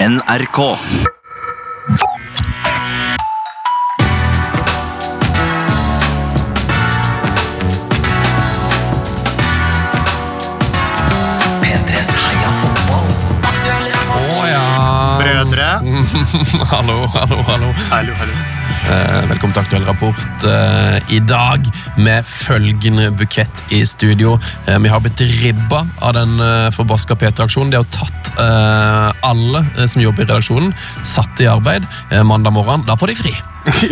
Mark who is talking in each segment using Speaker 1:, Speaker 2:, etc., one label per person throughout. Speaker 1: NRK. P3s heia fotball.
Speaker 2: Å ja.
Speaker 3: Brødre.
Speaker 2: Hallo, hallo, hallo.
Speaker 3: Hallo, hallo.
Speaker 2: Eh, velkommen til Aktuell rapport eh, i dag med følgende bukett i studio. Eh, vi har blitt ribba av den eh, forbaska PT-aksjonen. De har jo tatt eh, alle eh, som jobber i redaksjonen, satt i arbeid eh, mandag morgen. Da får de fri.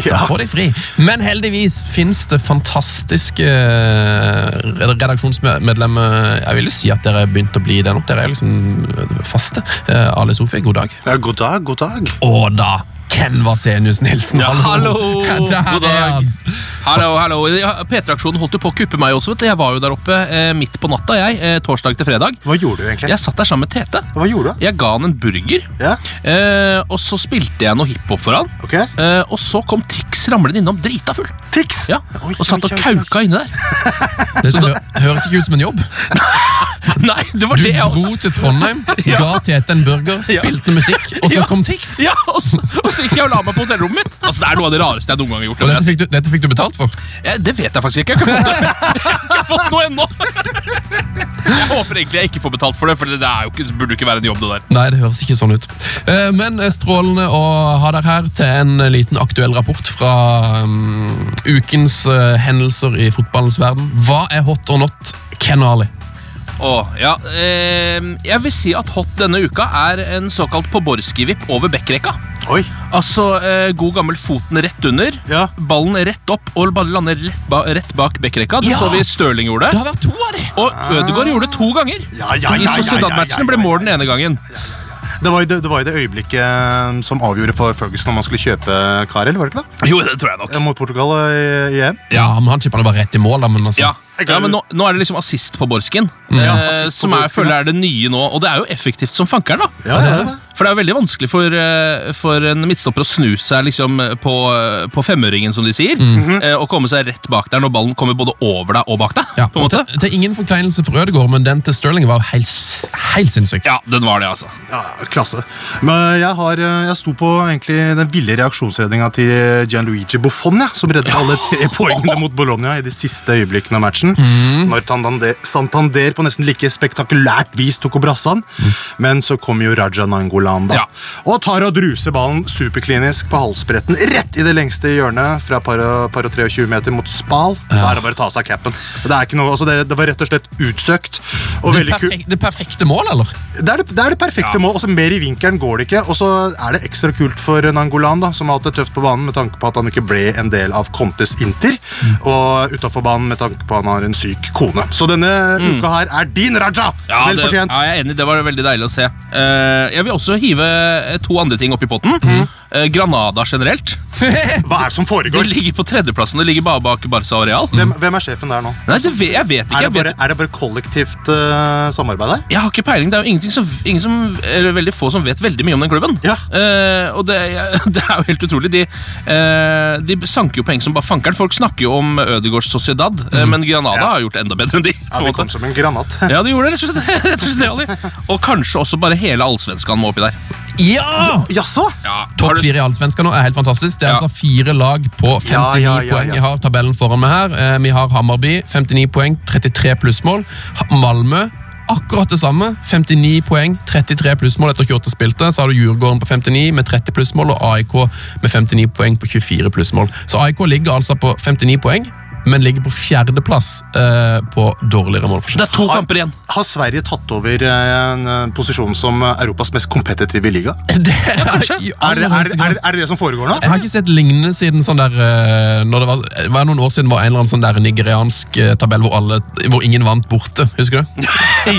Speaker 2: Da får de fri. Men heldigvis fins det fantastiske eh, red- redaksjonsmedlemmer Jeg vil jo si at dere har begynt å bli det nå. Dere er liksom eh, faste. Eh, Ale Sofie, god dag.
Speaker 3: Ja, god dag, god dag.
Speaker 2: Og da Ken Vasenius Nilsen.
Speaker 4: Ja, hallo!
Speaker 2: Ja, der
Speaker 4: God
Speaker 2: er
Speaker 4: dag.
Speaker 2: han.
Speaker 4: Hallo, hallo. Ja, P3-aksjonen holdt jo på å kuppe meg også. vet du. Jeg var jo der oppe eh, midt på natta, jeg, eh, torsdag til fredag.
Speaker 3: Hva gjorde du egentlig?
Speaker 4: Jeg satt der sammen med Tete.
Speaker 3: Hva gjorde du?
Speaker 4: Jeg ga han en burger,
Speaker 3: Ja,
Speaker 4: eh, og så spilte jeg noe hiphop for han.
Speaker 3: ok.
Speaker 4: Eh, og så kom Tix ramlende innom drita full
Speaker 3: Tix!
Speaker 4: ja,
Speaker 3: Oi,
Speaker 4: og satt
Speaker 3: oi,
Speaker 4: og
Speaker 3: oi, oi.
Speaker 4: kauka inne der.
Speaker 2: Det hø- høres ikke ut som en jobb.
Speaker 4: Nei, det var
Speaker 2: Du
Speaker 4: det jeg også.
Speaker 2: dro til Trondheim, ga Tete en burger, spilte noe musikk, og så
Speaker 4: Ja.
Speaker 2: kom Tix.
Speaker 4: Ja, og så, og så gikk jeg og la meg på hotellrommet mitt. Altså, Det er noe av det rareste jeg noen gang har gjort.
Speaker 2: Og dette fikk, du, dette fikk du betalt for.
Speaker 4: Eh, Det vet jeg faktisk ikke. Jeg har ikke fått, det. Jeg har ikke fått noe ennå. Jeg håper egentlig jeg ikke får betalt for det, for det er jo ikke, det burde jo ikke være en jobb. det der.
Speaker 2: Nei, det høres ikke sånn ut. Eh, Men eh, strålende å ha deg her til en eh, liten aktuell rapport fra mm, ukens eh, hendelser i fotballens verden. Hva er hot or not? Ken og Ali.
Speaker 4: Åh, ja, eh, jeg vil si at hot denne uka er en såkalt poborski-vipp over bekkrekka.
Speaker 3: Oi,
Speaker 4: Altså eh, god gammel foten rett under,
Speaker 3: Ja.
Speaker 4: ballen rett opp og ballen lander rett, ba rett bak bekkrekka. Det
Speaker 2: Ja!
Speaker 4: så vi Stirling gjorde.
Speaker 2: Det har vært to av de!
Speaker 4: Og Ødegaard gjorde det to ganger.
Speaker 3: Ja, ja, ja,
Speaker 4: I
Speaker 3: ja, ja, ja,
Speaker 4: Sociedad-matchene ble
Speaker 3: ja,
Speaker 4: mål den ene gangen.
Speaker 3: det var, jo det, det var jo det øyeblikket eh, som avgjorde for Ferguson om han skulle kjøpe Karel, var det ikke det?
Speaker 4: Jo, det tror jeg nok.
Speaker 3: Eh, Mot Portugal eh, i i EM.
Speaker 2: Ja, men Han chippa det bare rett i mål. da, men altså...
Speaker 4: Ja,
Speaker 3: Jeg kan-
Speaker 4: ja men nå, nå er det liksom assist på Borskin.
Speaker 3: Ja,
Speaker 4: eh,
Speaker 3: assist på
Speaker 4: som jeg
Speaker 3: Borskin,
Speaker 4: føler er det nye nå, og det er jo effektivt som fankeren. da
Speaker 3: Ja, ja, ja.
Speaker 4: For det er jo veldig vanskelig for, eh, for en midtstopper å snu seg liksom eh, på, eh, på femøringen, som de sier,
Speaker 3: Mhm.
Speaker 4: eh, og komme seg rett bak der når ballen kommer både over deg og bak deg.
Speaker 2: Ja,
Speaker 4: på
Speaker 2: og
Speaker 4: en måte
Speaker 2: til, til ingen forkleinelse for Ødegaard, men den til Sterling var helt, s- helt sinnssyk.
Speaker 4: Ja, den var det, altså.
Speaker 3: Ja, klasse. Men jeg, har, eh, jeg sto på egentlig den ville reaksjonsredninga til Gianluigi Buffon, jeg, som reddet alle tre poengene mot Bologna i de siste øyeblikkene av matchen. Når Tandander- Santander på nesten like spektakulært vis tok opp rassan. Men så kom jo Raja Nangolan, da.
Speaker 4: Ja.
Speaker 3: Og tar og druser ballen superklinisk på halsbretten rett i det lengste hjørnet fra par og, par og 23 meter mot Spal. Da er det bare å ta av seg capen. Det, er ikke noe, altså det, det var rett og slett utsøkt. Og
Speaker 2: Det,
Speaker 3: veldig ku-
Speaker 2: perfek det perfekte mål, eller?
Speaker 3: det er det, det er det perfekte
Speaker 4: Ja.
Speaker 3: mål. Også mer i vinkelen går det ikke. Og så er det ekstra kult for Nangolan, da, som har hatt det tøft på banen med tanke på at han ikke ble en del av Contes Inter.
Speaker 4: Mm.
Speaker 3: Og utafor banen med tanke på at han har en syk kone. Så denne uka her er din, Raja!
Speaker 4: Mm. Ja,
Speaker 3: Vel
Speaker 4: det, ja,
Speaker 3: fortjent.
Speaker 4: jeg er enig, det var veldig deilig å se. Eh, jeg vil også hive eh, to andre ting opp i potten.
Speaker 3: Mhm.
Speaker 4: Eh, Granada generelt.
Speaker 3: Hva er det som
Speaker 4: De
Speaker 3: foregår?
Speaker 4: ligger på tredjeplassen. De ligger bare bak Barca og Real.
Speaker 3: Hvem, hvem er sjefen der nå?
Speaker 4: Nei, det vet, jeg vet ikke.
Speaker 3: Er
Speaker 4: Jeg
Speaker 3: det
Speaker 4: vet
Speaker 3: bare, er det bare kollektivt eh, samarbeid her?
Speaker 4: Jeg har ikke peiling. Det er jo ingenting som, ingen som, eller veldig få som vet veldig mye om den klubben.
Speaker 3: Ja.
Speaker 4: Eh, og det, er- det er jo helt utrolig. De, eh, de sanker jo poeng som bare fankeren. Folk snakker jo om Ødegaards Sociedad, eh, men Granada
Speaker 3: Mhm. Ja.
Speaker 4: har gjort det enda bedre enn de. på
Speaker 3: Ja,
Speaker 4: en
Speaker 3: det
Speaker 4: måte.
Speaker 3: kom som en granat.
Speaker 4: ja, de gjorde det, rett og slett. Rett og, slett det, Ali. og kanskje også bare hele allsvenskan må oppi der.
Speaker 2: Ja!
Speaker 3: Jaså?
Speaker 4: Ja, har
Speaker 2: Topp
Speaker 4: du-
Speaker 2: fire i Allsvenska nå er helt fantastisk. Det er
Speaker 4: Ja.
Speaker 2: altså fire lag på 59
Speaker 3: Ja, ja, ja,
Speaker 2: poeng.
Speaker 3: ja.
Speaker 2: Jeg har tabellen foran meg her. Eh, Vi har Hammarby, 59 poeng, 33 plussmål. Ha- Malmö, akkurat det samme. 59 poeng, 33 plussmål etter 28 spilte. Så har du Djurgården på 59 med 30 plussmål, og AIK med 59 poeng på 24 plussmål. Så AIK ligger altså på 59 poeng, men ligger på fjerdeplass eh, på dårligere målforskjell.
Speaker 4: Det er to kamper igjen.
Speaker 3: Har Sverige tatt over eh, en eh, posisjon som Europas mest kompetitive liga?
Speaker 4: kanskje.
Speaker 2: i
Speaker 3: Er det er,
Speaker 2: aller
Speaker 3: det-
Speaker 2: høyeste
Speaker 3: er,
Speaker 2: grad-
Speaker 3: det- er det det som foregår nå?
Speaker 2: Jeg har ikke sett lignende siden sånn der eh, når det var, eh, var det noen år siden var en eller annen sånn der nigeriansk eh, tabell hvor, alle, hvor ingen vant borte. Husker du?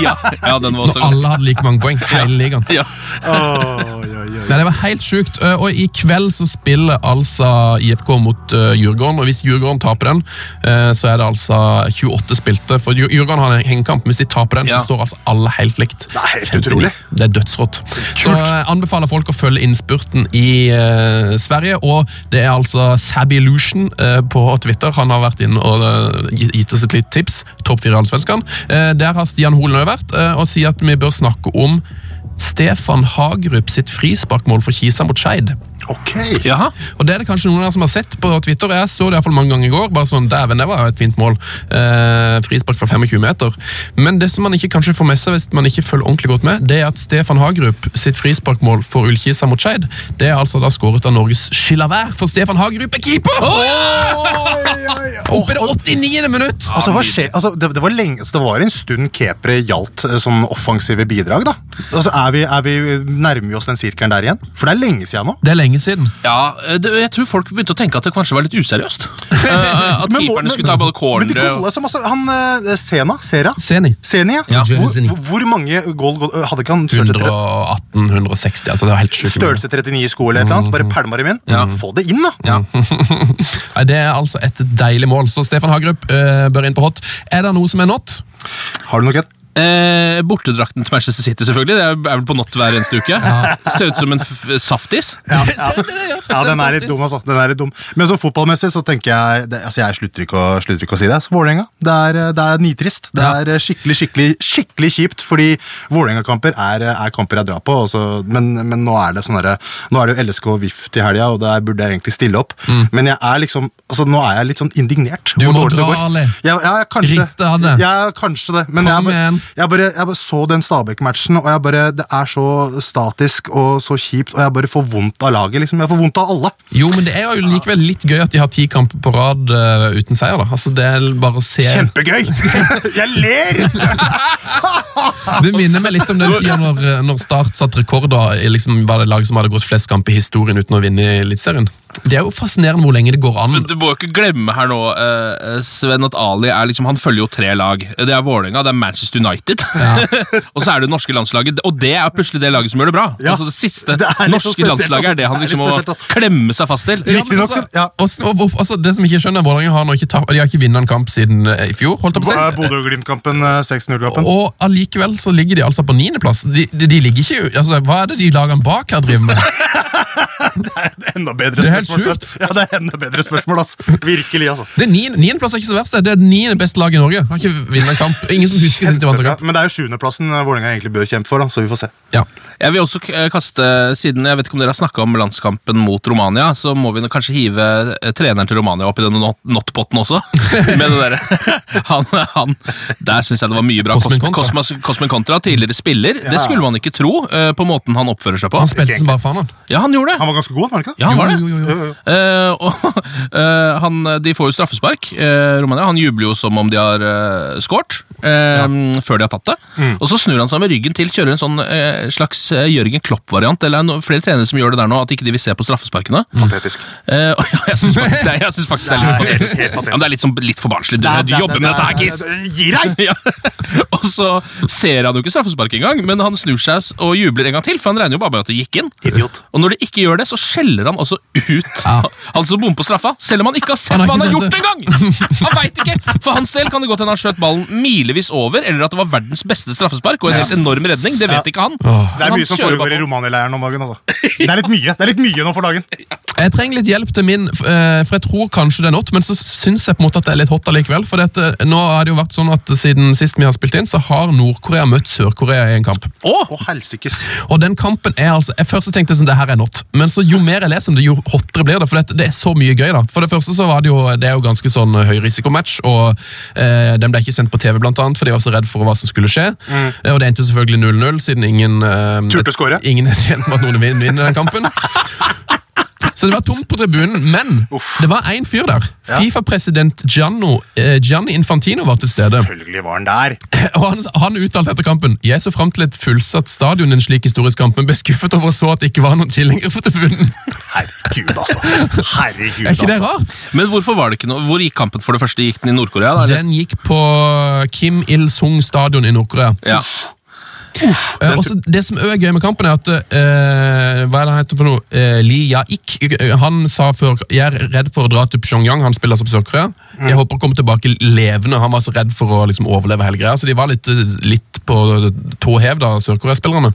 Speaker 4: Ja, ja den var
Speaker 2: Når
Speaker 4: også
Speaker 2: alle hadde like mange poeng. Hele ligaen.
Speaker 4: ja.
Speaker 3: Oi, oi, oi.
Speaker 2: Nei, Det var helt sjukt. Eh, Og i kveld så spiller altså IFK mot eh, Djurgården. Og hvis Djurgården taper den, eh, så er det altså 28 spilte. For Djur- Djurgården har en hengekamp. men Hvis de taper den,
Speaker 4: Ja.
Speaker 2: så står altså alle helt likt.
Speaker 3: Det er helt utrolig.
Speaker 2: Det er dødsrått. Så jeg anbefaler folk å følge innspurten i eh, Sverige. Og det er altså Sabby Lucian eh, på Twitter. Han har vært inne og eh, gi- gitt oss et litt tips. Topp fire allsvenskan. Eh, der har Stian Holen vært eh, og sier at vi bør snakke om Stefan Hagerup sitt frisparkmål for Kisa mot Skeid.
Speaker 3: Ok.
Speaker 4: Jaha.
Speaker 2: Og det er det kanskje noen av dere som har sett på Twitter. Jeg så det i hvert fall mange ganger i går. bare sånn, Dæven, det var jo et fint mål. Eh, frispark fra 25 meter. Men det som man ikke kanskje får med seg hvis man ikke følger ordentlig godt med, det er at Stefan Hagerup sitt frisparkmål for Ullkisa mot Skeid, det er altså da skåret av Norges Skilavær, for Stefan Hagerup er keeper! Oppe i det 89. minutt!
Speaker 3: Altså, hva skjer? Altså, det, det, var lenge, så det var en stund keepere gjaldt eh, som offensive bidrag. da. Altså, er vi, er vi, Nærmer vi oss den sirkelen der igjen? For det er lenge siden nå.
Speaker 2: Det er lenge siden.
Speaker 4: Ja, Eh, det, jeg tror folk begynte å tenke at det kanskje var litt useriøst. Eh, at
Speaker 3: Men må-
Speaker 4: keeperne
Speaker 3: men-
Speaker 4: skulle ta både
Speaker 3: Men de
Speaker 4: corner og
Speaker 3: golla som altså, han, eh, Sena, Sera,
Speaker 2: Seni.
Speaker 3: Seni, ja.
Speaker 2: Ja.
Speaker 3: Hvor,
Speaker 2: Seni.
Speaker 3: hvor mange goal, goal Hadde ikke han størrelse, tre-
Speaker 2: 118-160, altså det var helt sjukt.
Speaker 3: størrelse 39 i sko eller et eller annet? Bare pælma dem inn? Få det inn, da!
Speaker 4: ja.
Speaker 2: Nei, Det er altså et deilig mål, så Stefan Hagerup eh, bør inn på hot. Er det noe som er nådd?
Speaker 3: Har du nok et
Speaker 4: eh, Bortedrakten til Manchester City, selvfølgelig. Det er vel på natt hver eneste uke. Ser ut som en f saftis.
Speaker 2: Ja, ja.
Speaker 3: Ja, den er litt dum, altså. Den er litt dum. Men så fotballmessig så tenker jeg det, altså Jeg slutter ikke å, slutter ikke å si det. Så Vålerenga. Det er, eh, det er nitrist. Det
Speaker 2: Ja.
Speaker 3: er eh, skikkelig skikkelig, skikkelig kjipt, fordi Vålerenga-kamper er, eh, er kamper jeg drar på. og så- men, men nå er det sånn herre Nå er det jo LSK og VIF til helga, og der burde jeg egentlig stille opp. Men jeg er liksom altså Nå er jeg litt sånn indignert.
Speaker 2: Mm. Du
Speaker 3: hvor
Speaker 2: må
Speaker 3: dårlig det
Speaker 2: dra,
Speaker 3: går.
Speaker 2: Ali.
Speaker 3: Ja, ja, kanskje.
Speaker 2: Riste av det.
Speaker 3: Ja, kanskje det. Men jeg
Speaker 2: Kom
Speaker 3: bare,
Speaker 2: igjen.
Speaker 3: jeg, bare, jeg bare så den Stabæk-matchen, og jeg bare, det er så statisk og så kjipt, og jeg bare får vondt av laget. liksom. Jeg får vondt av alle.
Speaker 2: Jo, men det er jo likevel litt gøy at de har ti kamper på rad eh, uten seier. da. Altså, Det er bare å se...
Speaker 3: Kjempegøy! jeg ler!
Speaker 2: Det minner meg litt om den tida når, eh, når Start satte rekorder i liksom, var det lag som hadde gått flest kamper i historien uten å vinne i Eliteserien. Det er jo fascinerende hvor lenge det går an.
Speaker 4: Du må jo ikke glemme her nå, eh, Sven, at Ali er liksom, han følger jo tre lag. Det er Vålerenga, det er Manchester United, og så er det det norske landslaget. Og det er plutselig det laget som gjør det bra.
Speaker 3: Ja.
Speaker 4: Altså Det siste
Speaker 3: Det er litt
Speaker 4: norske
Speaker 3: spesielt,
Speaker 4: landslaget er det han
Speaker 3: altså. Det er
Speaker 4: liksom
Speaker 3: litt
Speaker 4: må
Speaker 3: spesielt, altså.
Speaker 4: klemme seg fast til.
Speaker 2: Ja, men
Speaker 3: Riktignok så
Speaker 2: altså,
Speaker 3: ja.
Speaker 2: og s- og hvorfor- altså, det som jeg ikke skjønner, Vålerenga har nå ikke tapt- de har ikke vunnet en kamp siden eh, i fjor. holdt jeg på å si.
Speaker 3: Bo- Bodø-Glimt-kampen, eh, 6-0-kampen.
Speaker 2: Og allikevel så ligger de altså på niendeplass. De, de, de ligger ikke altså, Hva er det de lagene bak her driver med?
Speaker 3: Det er enda bedre
Speaker 2: Det er helt
Speaker 3: spørsmål.
Speaker 2: sjukt.
Speaker 3: Sven. Ja, det er enda bedre spørsmål, ass. Virkelig, altså.
Speaker 2: Det er niende- Niendeplass er ikke så verst. Det Det er det niende beste laget i Norge. Har ikke vunnet en kamp. Ingen som husker sist de vant en kamp.
Speaker 3: Men det er jo sjuendeplassen eh, Vålerenga egentlig bør kjempe for, da, så vi får se.
Speaker 2: Ja.
Speaker 4: Jeg vil også k- eh, kaste, siden jeg vet ikke om dere har snakka om landskampen mot Romania, så må vi nå kanskje hive eh, treneren til Romania opp i denne not- notpotten også. Med det der. Han, han, der syns jeg det var mye bra.
Speaker 2: Cosmin Contra.
Speaker 4: Cosmas- Cosmin Contra, tidligere spiller. Det skulle man ikke tro, eh, på måten han oppfører seg på.
Speaker 2: Han spilte som bare faen, han.
Speaker 4: Ja, han gjorde det.
Speaker 3: Han var ganske god, var han ikke det?
Speaker 4: Ja, han var det.
Speaker 2: Jo, jo, jo, jo.
Speaker 4: Eh, og eh, han, De får jo straffespark, eh, Romania. Han jubler jo som om de har uh, skåret, eh, før de har tatt det. Og så snur han seg med ryggen til, kjører en sånn eh, slags eh, Jørgen Klopp-variant. Eller no, flere trenere som gjør det der nå, at ikke de vil se på straffesparkene.
Speaker 3: Patetisk.
Speaker 4: Eh, og ja, jeg syns faktisk det, er- jeg synes faktisk det er litt
Speaker 3: Nei,
Speaker 4: patetisk.
Speaker 3: helt
Speaker 4: Ja,
Speaker 3: patetisk.
Speaker 4: men det er litt, sånn, litt for barnslig. Du, du jobber med dette her, Kis!
Speaker 3: Gi deg!
Speaker 4: ja. Og så ser han jo ikke straffespark engang, men han snur seg og jubler en gang til, for han regner jo bare med at det gikk inn.
Speaker 3: Idiot.
Speaker 4: Og når de ikke gjør det, så skjeller han altså ut
Speaker 2: Ja.
Speaker 4: han som bommer på straffa, selv om han ikke har sett
Speaker 2: Han har
Speaker 4: hva han har
Speaker 2: ikke
Speaker 4: gjort engang! Han veit ikke! For hans del kan det godt hende han skjøt ballen milevis over, eller at det var verdens beste straffespark og en helt enorm redning. Det vet ikke han.
Speaker 2: Åh.
Speaker 3: Det er
Speaker 4: Han
Speaker 3: mye som foregår
Speaker 4: kjører
Speaker 3: i
Speaker 4: bare på.
Speaker 3: Romania-leiren om dagen. altså. Det er litt mye Det er litt mye nå for dagen.
Speaker 2: Jeg trenger litt hjelp til min, f- eh, for jeg tror kanskje det er nådd, men så syns jeg på en måte at det er litt hot allikevel. For dette, nå har det jo vært sånn at siden sist vi har spilt inn, så har Nord-Korea møtt Sør-Korea i en kamp.
Speaker 4: Åh!
Speaker 3: Å, helsikes.
Speaker 2: Og den kampen er altså jeg Først så tenkte jeg sånn, det her er not Men så jo mer jeg leser om det, jo hottere blir det For det, det er så mye gøy da For det første så var det jo Det er jo ganske sånn eh, høy risikomatch Og eh, den ble ikke sendt på TV blant annet For de var så redde for hva som skulle skje eh, Og det endte jo selvfølgelig 0-0 Siden ingen eh,
Speaker 3: Mm. Turte å score.
Speaker 2: Ingen er tjent med at noen vinner, vinner den kampen så det var tomt på tribunen, men
Speaker 3: Uff.
Speaker 2: det var en fyr der. FIFA-president Gianno, eh, Gianni Infantino var til stede.
Speaker 3: Selvfølgelig var han der.
Speaker 2: Og han, han uttalte etter kampen Jeg så frem til et fullsatt stadion i en slik historisk kamp, men ble skuffet over å så at det ikke var noen tilhengere på tribunen.
Speaker 3: Herregud, altså. Herregud,
Speaker 2: Er ikke det
Speaker 3: altså.
Speaker 2: rart?
Speaker 4: Men hvorfor var det ikke noe? Hvor gikk kampen for det første? Gikk den i Nord-Korea? da, eller?
Speaker 2: Den gikk på Kim Il-sung stadion i Nord-Korea.
Speaker 4: Ja.
Speaker 2: Eh, også det som også er gøy med kampen, er at eh, Hva er det han heter for noe? Eh, Li Ya-ik. eh, Han sa før Jeg er redd for å dra til Pyongyang. Han spiller altså på Sør-Korea. Jeg håper å komme tilbake levende. Han var så redd for å liksom, overleve hele greia, så de var litt, eh, litt på tå hev, da, Sør-Korea-spillerne.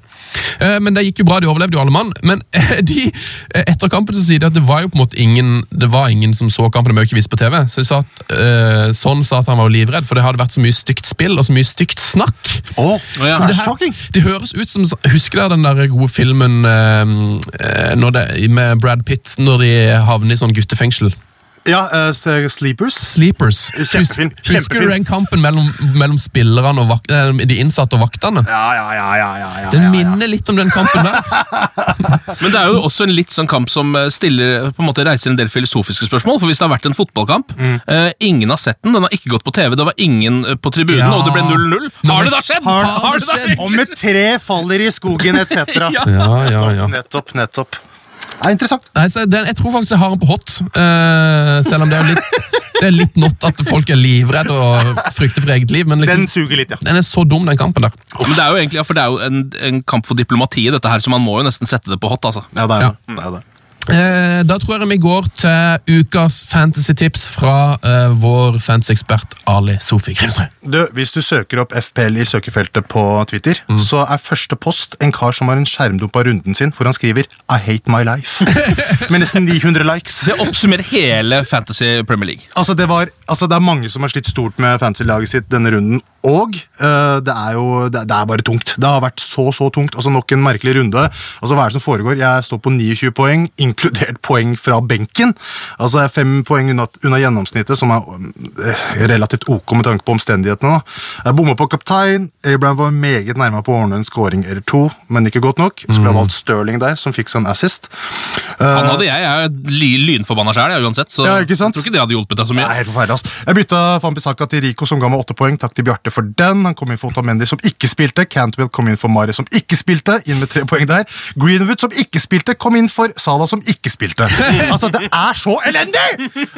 Speaker 2: Eh, Men det gikk jo bra, de overlevde jo alle mann. Men eh, de, eh, etter kampen så sier de at det var jo på en måte ingen det var ingen som så kampen, de har jo ikke vist på TV. Så de sa at, eh, Sånn sa at han var jo livredd, for det hadde vært så mye stygt spill og så mye stygt snakk.
Speaker 3: Oh,
Speaker 4: ja.
Speaker 2: Så det, her, det høres ut som Husker dere den der gode filmen eh, eh, når det, med Brad Pitt når de havner i sånn guttefengsel?
Speaker 3: ja, eh, s- Sleepers.
Speaker 2: Sleepers.
Speaker 3: Kjempefin,
Speaker 2: Husk- Husker du
Speaker 3: kjempefin.
Speaker 2: den kampen mellom, mellom spillerne og vak, eh, de innsatte og vaktene?
Speaker 3: Ja, ja, ja. ja, ja, ja,
Speaker 2: Den
Speaker 3: ja, ja.
Speaker 2: minner litt om den kampen der.
Speaker 4: Men det er jo også en litt sånn kamp som eh, stiller, på en måte reiser en del filosofiske spørsmål. For hvis det har vært en fotballkamp
Speaker 3: Mm.
Speaker 4: eh, Ingen har sett den, den har ikke gått på TV, det var ingen eh, på tribunen,
Speaker 2: Ja.
Speaker 4: og det ble 0-0. Har det da skjedd?!
Speaker 3: Har,
Speaker 2: Har det skjedd?
Speaker 3: Om et tre faller i skogen, etc.
Speaker 4: Ja.
Speaker 2: Ja, ja, ja.
Speaker 3: Nettopp, nettopp. Det er interessant.
Speaker 2: Nei, så den, jeg tror faktisk jeg har den på hot, eh, selv om det er jo litt, det er litt nått at folk er livredde og frykter for eget liv. Men liksom,
Speaker 3: Den suger litt, ja.
Speaker 2: den er så dum, den kampen der.
Speaker 4: Men det er jo egentlig, ja, for det er jo en, en kamp for diplomatiet, dette her, så man må jo nesten sette det på hot. altså.
Speaker 3: Ja, det er
Speaker 2: Ja.
Speaker 3: det. det, er det.
Speaker 2: Eh, da tror jeg vi går til ukas fantasy-tips fra eh, vår fantasy-ekspert Ali Sofi Grimsrud.
Speaker 3: Du, hvis du søker opp FPL i søkefeltet på Twitter, så er første post en kar som har en skjermdump av runden sin, hvor han skriver 'I hate my life'. Med nesten 900 likes.
Speaker 4: Det oppsummerer hele Fantasy Premier League.
Speaker 3: Altså, det, var, altså, det er mange som har slitt stort med fantasy-laget sitt denne runden, og eh, det er jo det, det er bare tungt. Det har vært så, så tungt. Altså, nok en merkelig runde. Altså, Hva er det som foregår? Jeg står på 29 poeng, inkludert poeng fra benken. Altså, jeg er fem poeng unna, unna gjennomsnittet, som er eh, relativt ok med tanke på omstendighetene. da. Jeg bomma på kaptein. Abraham var meget nærme på å ordne en scoring eller to, men ikke godt nok. Så ble jeg valgt Sterling der, som fikk seg en assist.
Speaker 4: Han hadde jeg, jeg er ly, lynforbanna sjæl, uansett, så
Speaker 3: Eh. Ja, ikke sant?
Speaker 4: jeg tror ikke det hadde hjulpet deg så
Speaker 3: Det
Speaker 4: mye.
Speaker 3: er helt forferdelig, ass. Jeg bytta Fanbisaka til Rico, som ga meg åtte poeng. Takk til Bjarte for den. Han kom inn for Otamendi, som ikke spilte. Cantwell kom inn for Mari, som ikke spilte. Inn med tre poeng der. Greenwood, som ikke spilte, kom inn for Salah, som ikke spilte. Altså, Det er så elendig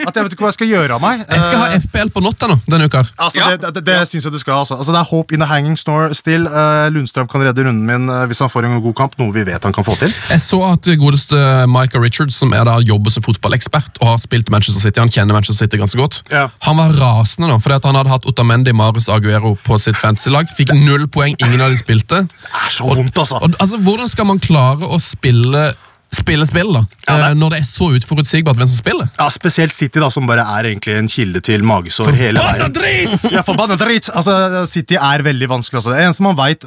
Speaker 3: at jeg vet ikke hva jeg skal gjøre av meg.
Speaker 2: Jeg skal ha
Speaker 3: Eh,
Speaker 2: FPL på natta nå denne uka. her.
Speaker 3: Altså,
Speaker 4: Ja.
Speaker 3: Det, det, det syns jeg du skal. Altså. Altså, det er hope in the hanging snore still. Eh, Lundstrøm kan redde runden min eh, hvis han får en god kamp, noe vi vet han kan få til.
Speaker 2: Jeg så at godeste Micah Richards, som er da jobber som fotballekspert og har spilt i Manchester City, han kjenner Manchester City ganske godt,
Speaker 3: Ja.
Speaker 2: han var rasende nå, fordi at han hadde hatt Otamendi Marius Aguero på sitt fantasy-lag. Fikk null poeng, ingen av de spilte.
Speaker 3: Det er så vondt, altså.
Speaker 2: Og, altså, hvordan skal man klare å spille spille spill, da?
Speaker 3: Ja, det-
Speaker 2: Eh, Når det er så uforutsigbart hvem som spiller?
Speaker 3: Ja, Spesielt City, da, som bare er egentlig en kilde til magesår hele veien.
Speaker 2: drit!
Speaker 3: Ja, forbanna dritt! Altså, City er veldig vanskelig. Altså. Det eneste man veit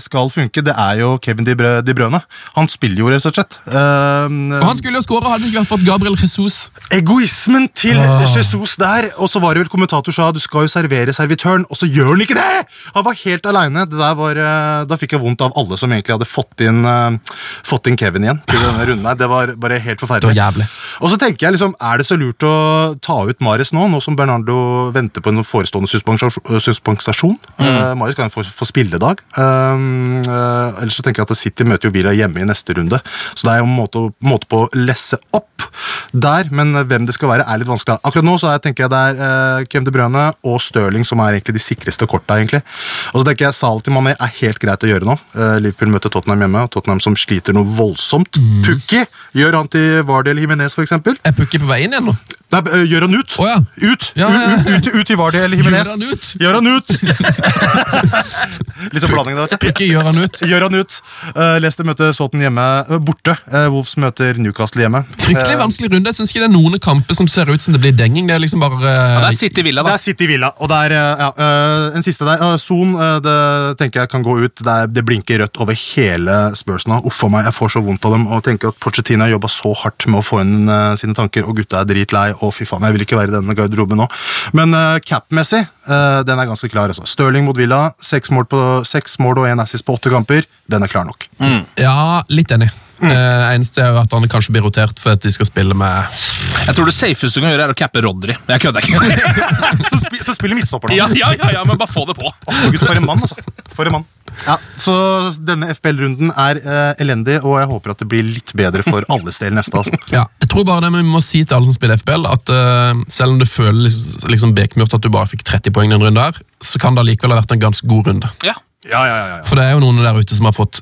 Speaker 3: skal funke, det er jo Kevin De, Brø De Brøne. Han spiller jo, rett og slett. Ehm,
Speaker 2: Og han skulle jo skåre, hadde det ikke vært for at Gabriel Jesus
Speaker 3: Egoismen til
Speaker 2: Ah.
Speaker 3: Jesus der! Og så var det vel kommentator sa du skal jo servere servitøren, og så gjør han ikke det! Han var helt aleine. eh, Da fikk jeg vondt av alle som egentlig hadde fått inn, eh, fått inn Kevin igjen. til denne runden her. Det var bare helt forferdelig.
Speaker 2: Det var jævlig.
Speaker 3: Og så tenker jeg liksom, Er det så lurt å ta ut Mares nå, nå som Bernardo venter på en forestående suspensasjon? suspensasjon?
Speaker 2: Mm.
Speaker 3: Eh, Mares kan få, få spilledag. Um, eh, ellers så tenker jeg at City møter jo Villa hjemme i neste runde, så det er jo en måte, å- måte på å lesse opp der. Men hvem det skal være, er litt vanskelig. Akkurat nå så er, tenker jeg det er eh, Kevin De Bruyne og Stirling som er egentlig de sikreste korta. egentlig. Og så tenker jeg Salah til Mané er helt greit å gjøre nå. Eh, Liverpool møter Tottenham hjemme, og Tottenham som sliter noe voldsomt.
Speaker 2: Mm.
Speaker 3: Pukki gjør han til Vardel Jimenez, for eksempel.
Speaker 2: Er Pukki på vei inn igjen nå?
Speaker 3: Nei, øh, gjør han ut?
Speaker 2: Å ja.
Speaker 3: Ut!
Speaker 2: Ja, ja, ja.
Speaker 3: Ut, ut, ut, ut i Vardy eller Jimenez.
Speaker 2: Gjør han ut?
Speaker 3: Gjør han ut! Litt sånn blanding, da. vet du.
Speaker 2: Pukki gjør han ut.
Speaker 3: Gjør han ut. Uh, Leicester møter Sotten hjemme øh, borte. Uh, Wolves møter Newcastle hjemme.
Speaker 2: Fryktelig vanskelig runde. Jeg syns ikke det er noen kamper som ser ut som det blir denging. Det er liksom bare eh,
Speaker 4: Ja, der sitter Villa,
Speaker 3: Det
Speaker 4: da.
Speaker 3: er City Villa, og det er øh, ja, øh, en siste der. øh, Son øh, det tenker jeg kan gå ut. Det, er, det blinker rødt over hele Spurs nå. Uff a meg, jeg får så vondt av dem. Og tenker at Pochettino har jobba så hardt med å få inn øh, sine tanker, og gutta er dritlei. Og fy faen, jeg vil ikke være i denne garderoben nå. Men øh, cap-messig, øh, den er ganske klar. altså. Stirling mot Villa. Seks mål, på, seks mål og én assist på åtte kamper. Den er klar nok.
Speaker 4: Mm.
Speaker 2: Ja, litt enig.
Speaker 3: Mm.
Speaker 2: Eh, eneste er jo at han kanskje blir rotert for at de skal spille med
Speaker 4: Jeg tror det safeste du kan gjøre, er å cappe Rodry. Jeg kødder ikke.
Speaker 3: så, spi, så spiller midtstopper nå.
Speaker 4: ja, ja, ja, ja, men bare få det på.
Speaker 3: Å, Gud, for en mann, altså. For en mann. Ja, så denne FBL-runden er eh, elendig, og jeg håper at det blir litt bedre for alles del neste. altså.
Speaker 2: ja, Jeg tror bare det vi må si til alle som spiller FBL, at eh, selv om det føles liksom bekmørkt at du bare fikk 30 poeng den runden der, så kan det allikevel ha vært en ganske god runde.
Speaker 4: Ja.
Speaker 3: Ja, ja, ja, ja.
Speaker 2: For det er jo noen der ute som har fått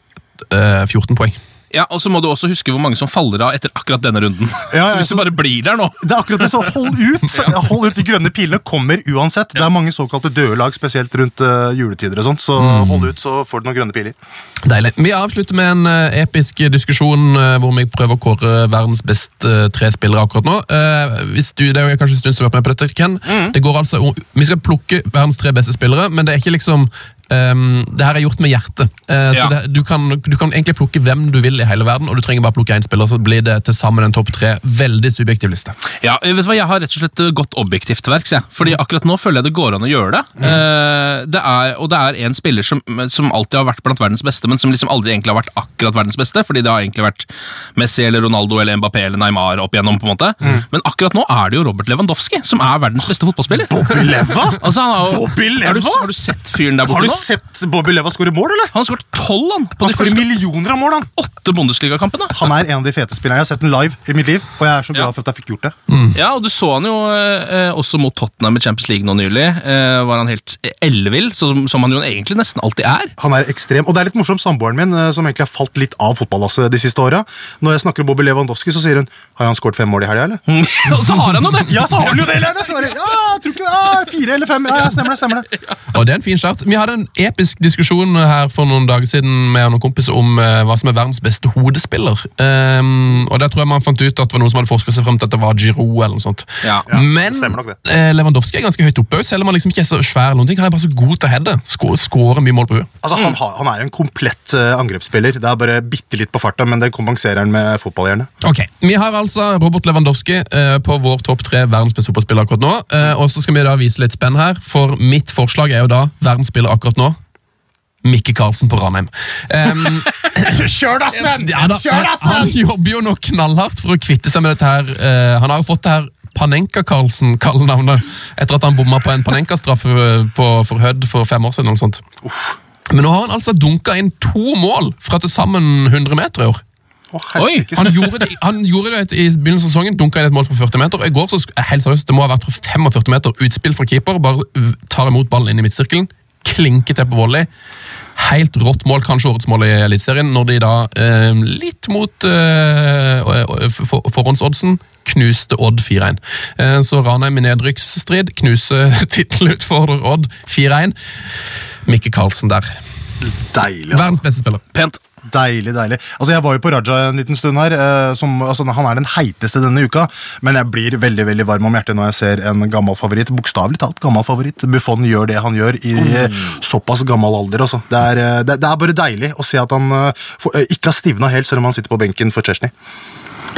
Speaker 2: eh, 14 poeng.
Speaker 4: Ja, og så må du også huske hvor mange som faller av etter akkurat denne runden.
Speaker 3: Ja, ja,
Speaker 4: så hvis
Speaker 3: så-
Speaker 4: du bare blir der nå
Speaker 3: Det er akkurat det, så hold ut! Hold ut, De grønne pilene kommer uansett. Det er mange såkalte døde lag, spesielt rundt eh, juletider og sånt, så hold ut, så får du noen grønne piler.
Speaker 2: Deilig. Vi avslutter med en eh, episk diskusjon eh, hvor vi prøver å kåre verdens beste eh, tre spillere akkurat nå. Eh, hvis du, det er jo kanskje en stund siden vi har vært med på dette, Ken. Det går altså, om- vi skal plukke verdens tre beste spillere, men det er ikke liksom ehm, det her er gjort med hjertet. Eh, Så
Speaker 4: Ja.
Speaker 2: det, du, kan, du kan egentlig plukke hvem du vil i hele verden, og du trenger bare plukke én spiller, så blir det til sammen en topp tre. Veldig subjektiv liste.
Speaker 4: Ja, eh, vet du hva, Jeg har rett og slett eh, gått objektivt til verks. jeg. Fordi
Speaker 3: Mm.
Speaker 4: akkurat nå føler jeg det går an å gjøre det. Eh, det er, og det er en spiller som, som alltid har vært blant verdens beste, men som liksom aldri egentlig har vært akkurat verdens beste. Fordi det har egentlig vært Messi eller Ronaldo eller Mbappé eller Neymar opp igjennom. på en måte
Speaker 3: Mm.
Speaker 4: Men akkurat nå er det jo Robert Lewandowski som er verdens beste fotballspiller.
Speaker 3: Bobby Leva?
Speaker 4: Altså, han har, jo-
Speaker 3: Bobby
Speaker 4: har, du,
Speaker 3: Leva?
Speaker 4: har du sett fyren der
Speaker 3: Har
Speaker 4: borte
Speaker 3: du
Speaker 4: nå?
Speaker 3: sett Bobby Leva skåre mål, eller?
Speaker 4: Han har skåret tolv han, på
Speaker 3: Han
Speaker 4: de
Speaker 3: skårer
Speaker 4: første
Speaker 3: millioner av mål, han!
Speaker 4: åtte Bundesliga-kampene.
Speaker 3: Han er en av de fete spillerne. Jeg har sett den live i mitt liv, og jeg er så glad
Speaker 4: Ja.
Speaker 3: for at jeg fikk gjort det.
Speaker 4: Ja, og du så han jo eh, også mot Tottenham i Champions League nå nylig. Eh, var han helt ellevill, som, som han jo egentlig nesten alltid er.
Speaker 3: Han er ekstrem, og det er litt morsomt, samboeren min, eh, som egentlig har falt litt av fotballasset de siste åra. Når jeg snakker om Bobby Lewandowski, så sier hun Har han skåret fem mål i helga, eller?
Speaker 4: og så har han jo det!
Speaker 3: Ja, så har han jo det, eller? Så er det, ja, jeg tror ikke det. Ja, fire eller fem. Ja, ja, stemmer det. stemmer det.
Speaker 2: Og det er en fin start. Vi hadde en episk diskusjon her for noen dager siden med noen kompiser om eh, hva som er verdens beste hodespiller. Ehm, og Der tror jeg man fant ut at det var noen som hadde forsket seg frem til at det var Giroud. eller noe sånt.
Speaker 4: Ja.
Speaker 3: Ja,
Speaker 2: Men
Speaker 3: det stemmer nok det.
Speaker 2: eh, Lewandowski er ganske høyt oppe, også, selv om han liksom ikke er så svær. eller noen ting. Han er bare så god til å heade. Skå- Skårer mye mål på huet.
Speaker 3: Altså, han, har, han er jo en komplett eh, angrepsspiller. Det er bare bitte litt på farta, men det kompenserer han med fotballhjerne.
Speaker 2: Ok, Vi har altså Robert Lewandowski eh, på vår topp tre verdens beste fotballspiller akkurat nå. Eh, og så skal vi da vise litt spenn her, for mitt forslag er jo da verdensspiller akkurat nå. Mikke Karlsen på Ranheim. Ehm,
Speaker 3: Kjør da, Sven!
Speaker 2: Ja, da, han, han jobber jo nå knallhardt for å kvitte seg med dette her. Eh, han har jo fått det her Panenka-Karlsen, kallenavnet, etter at han bomma på en Panenka-straff eh, på- for Hødd for fem år siden. eller noe sånt. Men nå har han altså dunka inn to mål fra til sammen 100 meter i år.
Speaker 3: Å,
Speaker 4: Oi,
Speaker 3: herregud.
Speaker 2: Han gjorde det, han gjorde det i begynnelsen av sesongen, dunka inn et mål fra 40 meter. og I går så, sk- helt seriøst, det må ha vært fra 45 meter, utspill fra keeper, bare uh, tar imot ballen inn i midtsirkelen, klinker til på volley. Helt rått mål, kanskje årets mål i Eliteserien, når de da, eh, litt mot eh, eh, for, forhåndsoddsen, knuste Odd 4-1. Eh, så Ranheim i nedrykksstrid knuser tittelutfordrer Odd 4-1. Mikke Karlsen der.
Speaker 3: Deilig. altså.
Speaker 2: Verdens beste spiller.
Speaker 4: Pent.
Speaker 3: Deilig, deilig. Altså, Jeg var jo på Raja en liten stund her. eh, Som, altså, han er den heiteste denne uka, men jeg blir veldig veldig varm om hjertet når jeg ser en gammel favoritt. Bokstavelig talt gammel favoritt. Buffon gjør det han gjør i eh, såpass gammel alder. Altså. Det, er, eh, det, det er bare deilig å se at han eh, får- eh, ikke har stivna helt, selv om han sitter på benken for Chesney.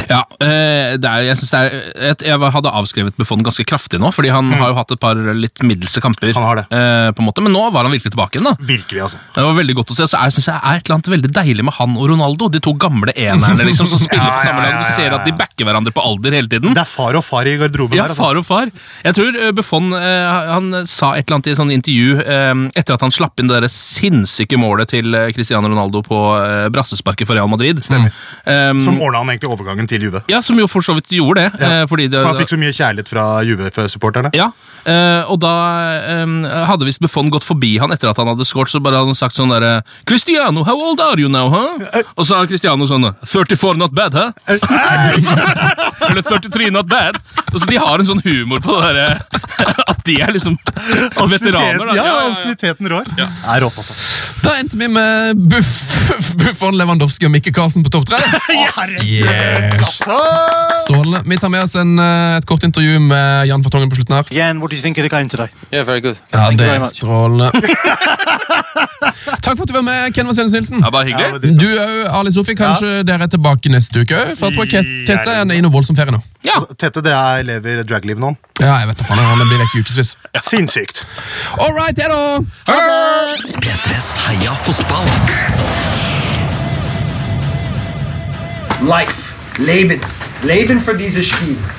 Speaker 4: Ja, eh, det er, jeg, synes det er, et- jeg hadde avskrevet Buffon ganske kraftig nå, fordi han har jo hatt et par litt middelse kamper.
Speaker 3: Han har det.
Speaker 4: eh, på en måte, Men nå var han virkelig tilbake igjen. da
Speaker 3: Virkelig, altså.
Speaker 4: Det var veldig godt å se. Så jeg synes jeg er et eller annet veldig deilig med han og Ronaldo. De to gamle enerne liksom som spiller
Speaker 3: Ja,
Speaker 4: på samme
Speaker 3: ja,
Speaker 4: lag. Du
Speaker 3: ja,
Speaker 4: ser
Speaker 3: ja,
Speaker 4: at de
Speaker 3: ja.
Speaker 4: backer hverandre på alder hele tiden.
Speaker 3: Det er far og far i garderoben
Speaker 4: Ja,
Speaker 3: der. Altså.
Speaker 4: far og far. Jeg tror eh, Buffon eh, han sa et eller annet i et sånt intervju eh, etter at han slapp inn det der sinnssyke målet til eh, Cristiano Ronaldo på eh, brassesparket for Real Madrid. Stemmer.
Speaker 3: Som ordna han egentlig overgangen til Juve.
Speaker 4: ja, som jo for så vidt gjorde det. eh, Fordi det
Speaker 3: For han fikk så mye kjærlighet fra Juve-supporterne.
Speaker 4: ja, eh, og da eh, hadde visst Buffon gått forbi han etter at han hadde scoret, så bare hadde han sagt sånn derre Cristiano, how old are you now, huh? Og så har Cristiano sånn 34 not bad, huh? Eller 33 not bad. Og så De har en sånn humor på det derre At de er liksom veteraner.
Speaker 3: Ja,
Speaker 4: da. Ja, ja, ja.
Speaker 3: Ansienniteten rår. Det er rått, altså.
Speaker 2: Da endte vi med Buff- Buffon, Lewandowski og Mikke Karlsen på topp tre. Yes. Strålende. Vi tar med oss en, eh, et kort intervju med Jan Fartongen på slutten her.
Speaker 5: Jan, what do you think of the game today?
Speaker 6: Yeah, very good.
Speaker 2: Ja,
Speaker 5: Thank you
Speaker 2: det
Speaker 5: very
Speaker 2: er
Speaker 5: much.
Speaker 2: strålende. Takk for at du var med, Ken Vasenus Nilsen.
Speaker 4: Ja, bare
Speaker 3: Ja, men
Speaker 4: hyggelig.
Speaker 3: det-
Speaker 2: Du òg, Ali Sofi. Kanskje dere er tilbake neste uke òg? For jeg tror Ket- Tete er i noe voldsom ferie nå.
Speaker 4: Ja,
Speaker 3: Altså, Tete, det er lever dragliv nå.
Speaker 2: Ja, jeg vet da faen. Han blir vekk i ukevis.
Speaker 3: Sinnssykt.
Speaker 2: All right, det da!
Speaker 1: P3s heia fotball.
Speaker 7: Life. Leben. Leben für dieses Spiel.